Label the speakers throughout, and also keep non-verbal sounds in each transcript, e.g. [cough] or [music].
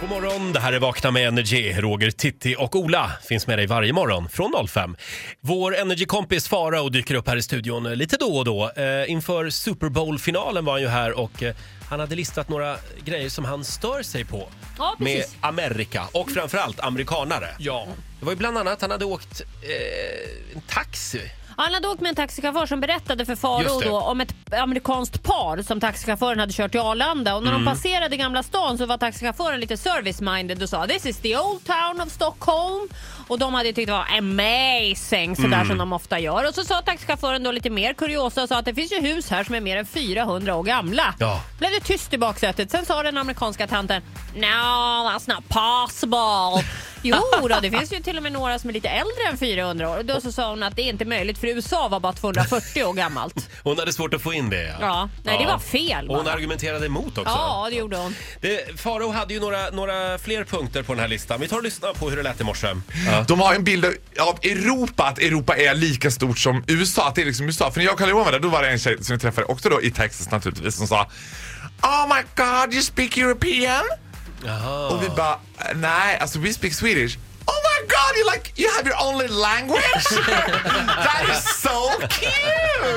Speaker 1: God morgon, det här är Vakna med Energy. Roger, Titti och Ola finns med dig varje morgon från 05. Vår energikompis Farao dyker upp här i studion lite då och då. Eh, inför Super Bowl-finalen var han ju här och eh, han hade listat några grejer som han stör sig på
Speaker 2: Ja,
Speaker 1: med
Speaker 2: precis.
Speaker 1: Amerika och framförallt amerikanare. Ja. Det var ju bland annat han hade åkt eh, en taxi.
Speaker 2: Han hade åkt med en taxichaufför som berättade för
Speaker 1: Just
Speaker 2: Faro
Speaker 1: det.
Speaker 2: då om ett amerikanskt par som taxichauffören hade kört till Arlanda. Och när de passerade Gamla stan så var taxichauffören lite service-minded och sa “This is the old town of Stockholm” och de hade tyckt det var amazing, sådär som de ofta gör. Och så sa taxichauffören då lite mer kuriosa och sa att det finns ju hus här som är mer än 400 år gamla.
Speaker 1: Ja.
Speaker 2: Blev det tyst i baksätet. Sen sa den amerikanska tanten “No, that's not possible”. Jo då, det finns ju till och med några som är lite äldre än 400 år. Och Då så sa hon att det är inte möjligt för USA var bara 240 år gammalt.
Speaker 1: Hon hade svårt att få in det.
Speaker 2: Ja, nej, det var fel
Speaker 1: Och hon
Speaker 2: bara.
Speaker 1: argumenterade emot också.
Speaker 2: Ja, det gjorde hon.
Speaker 1: Det, Faro hade ju några, några fler punkter på den här listan. Vi tar och lyssnar på hur det lät i morse. Ja.
Speaker 3: De har en bild av Europa, att Europa är lika stort som USA. Att det är liksom USA. För när jag och Kalle Johan var där, då var det en tjej som jag träffade också då i Texas naturligtvis som sa Oh my god, you speak European? Och vi bara, nej, alltså we speak Swedish. Oh my god, you like, you have your only language?
Speaker 1: [laughs]
Speaker 3: That is so cute!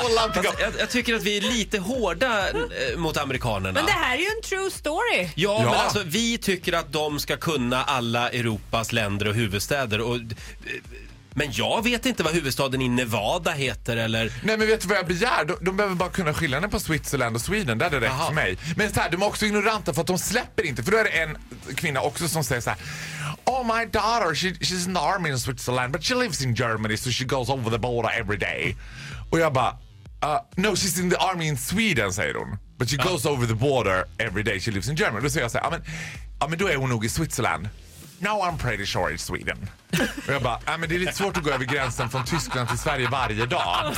Speaker 3: I would love to go.
Speaker 1: Fast jag, jag tycker att vi är lite hårda eh, mot amerikanerna.
Speaker 2: Men det här är ju en true story.
Speaker 1: Ja,
Speaker 3: Ja.
Speaker 1: men alltså vi tycker att de ska kunna alla Europas länder och huvudstäder. Och, eh, men jag vet inte vad huvudstaden i Nevada heter
Speaker 2: [laughs]
Speaker 1: eller...
Speaker 3: Nej men vet du vad jag begär? De, de behöver bara kunna skillnaden på Switzerland och Sweden. Det hade räckt
Speaker 1: Jaha.
Speaker 3: för mig. Men så här, de är också ignoranta för att de släpper inte. För då är det en kvinna också som säger så här. Oh my daughter, she, she's in the army in Switzerland but she lives in Germany so she goes over the border every day. Och jag bara, uh, no she's in the army in Sweden säger hon. But she goes over the border every day she lives in Germany. Då säger jag så här, ja men, ja, men då är hon nog i Switzerland. No I'm pretty sure it's Sweden. Och jag bara, ja men det är lite svårt att gå över gränsen från Tyskland till Sverige varje dag. No,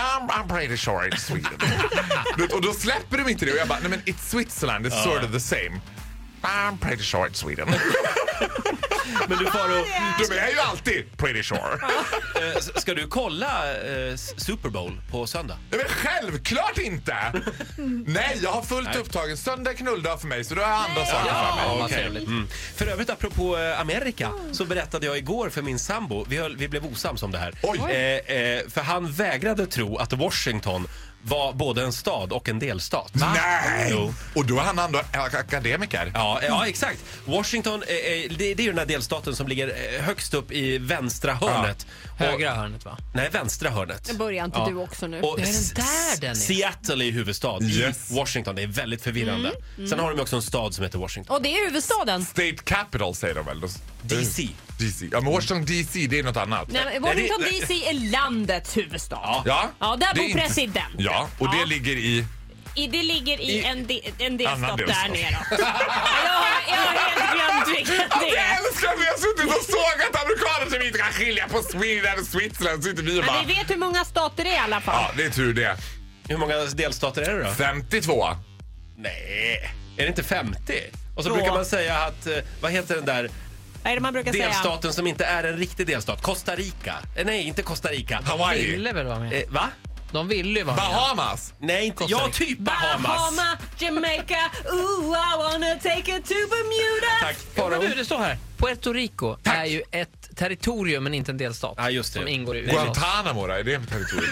Speaker 3: I'm, I'm pretty sure
Speaker 1: [laughs]
Speaker 3: it's Sweden. Du vet, och då släpper de inte det och jag bara, nej men it's Switzerland, it's sort of the same. I'm pretty sure
Speaker 1: [laughs]
Speaker 3: it's Sweden.
Speaker 1: Men du Faro,
Speaker 3: De är ju alltid pretty sure.
Speaker 1: eh, s- ska du kolla eh, s- Super Bowl på söndag?
Speaker 3: Nej, men självklart inte! Nej, jag har fullt upptagen. Söndag är knulldag för mig så då har jag andra saker för mig.
Speaker 1: Ja, okej. mm. För övrigt, apropå eh, Amerika, så berättade jag igår för min sambo, vi, höll, vi blev osams om det här.
Speaker 3: Oj.
Speaker 1: Eh, eh, för han vägrade tro att Washington var både en stad och en delstat.
Speaker 3: Nej!
Speaker 1: Jo.
Speaker 3: Och då är han ändå ak- akademiker.
Speaker 1: Ja, eh, ja, exakt. Washington, eh, eh, det, det är ju den här delstaten som ligger eh, högst upp i vänstra hörnet. Och,
Speaker 4: Högra hörnet va?
Speaker 1: nej, vänstra hörnet.
Speaker 2: Nu börjar inte du också nu.
Speaker 1: Och
Speaker 4: Det är den
Speaker 1: S-
Speaker 4: där den är.
Speaker 1: Seattle är huvudstad
Speaker 3: Yes.
Speaker 1: i Washington. Det är väldigt förvirrande.
Speaker 4: Mm,
Speaker 1: Sen har de också en stad som heter Washington.
Speaker 2: Och det är huvudstaden.
Speaker 3: State Capital säger de väl?
Speaker 1: DC.
Speaker 3: DC. Ja, men Washington DC, det är något annat.
Speaker 2: Nej, men
Speaker 1: Nej, det-
Speaker 2: Washington DC är landets huvudstad. Ja, där
Speaker 3: Ja, det är
Speaker 2: bor
Speaker 3: inte-
Speaker 2: presidenten.
Speaker 3: Ja, och
Speaker 2: Ja.
Speaker 3: det ligger i...
Speaker 2: I- Det ligger i, en, de, en
Speaker 3: Annan
Speaker 2: delstat där
Speaker 3: delstat.
Speaker 2: nere. jag, har- jag har helt glömt vilken det
Speaker 3: Alltså, Jag
Speaker 2: är.
Speaker 3: älskar att vi har suttit och sågat amerikaner som inte kan skilja på Sweden och Switzerland. Sitter vi och
Speaker 2: Men
Speaker 3: bara...
Speaker 2: vi vet hur många stater det är i alla fall.
Speaker 3: Ja, det är tur det.
Speaker 1: Hur många delstater är det då?
Speaker 3: 52.
Speaker 1: Nej, är det inte 50? Och så
Speaker 2: Då.
Speaker 1: brukar man säga att, eh, vad heter den där
Speaker 2: Vad är det man brukar säga?
Speaker 1: delstaten som inte är en riktig delstat? Costa Rica? Eh, nej, inte Costa Rica.
Speaker 3: Hawaii.
Speaker 4: Ville väl vara med?
Speaker 1: Eh, va?
Speaker 4: De ville ju vara med.
Speaker 3: Bahamas.
Speaker 1: Nej, inte.
Speaker 4: Costa
Speaker 1: Ja,
Speaker 4: Rica.
Speaker 1: typ Bahamas.
Speaker 2: Bahama, Jamaica, ooh I wanna take it to Bermuda.
Speaker 1: Tack.
Speaker 4: Ja, men
Speaker 1: Faro.
Speaker 4: du, det står här. Puerto Rico är ju ett territorium men inte en delstat.
Speaker 1: Ja, just det.
Speaker 4: Som ingår i USA.
Speaker 3: Guantanamo, då? är det en territorium?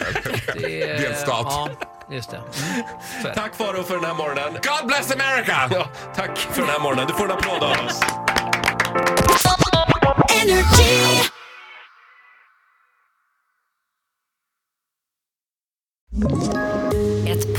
Speaker 4: Det är-
Speaker 3: Delstat.
Speaker 4: Ja, just det. Mm. Så är det.
Speaker 1: Tack Faro för den här morgonen.
Speaker 3: God bless America!
Speaker 1: Ja, tack för den här morgonen. Du får en applåd av oss.
Speaker 5: Ett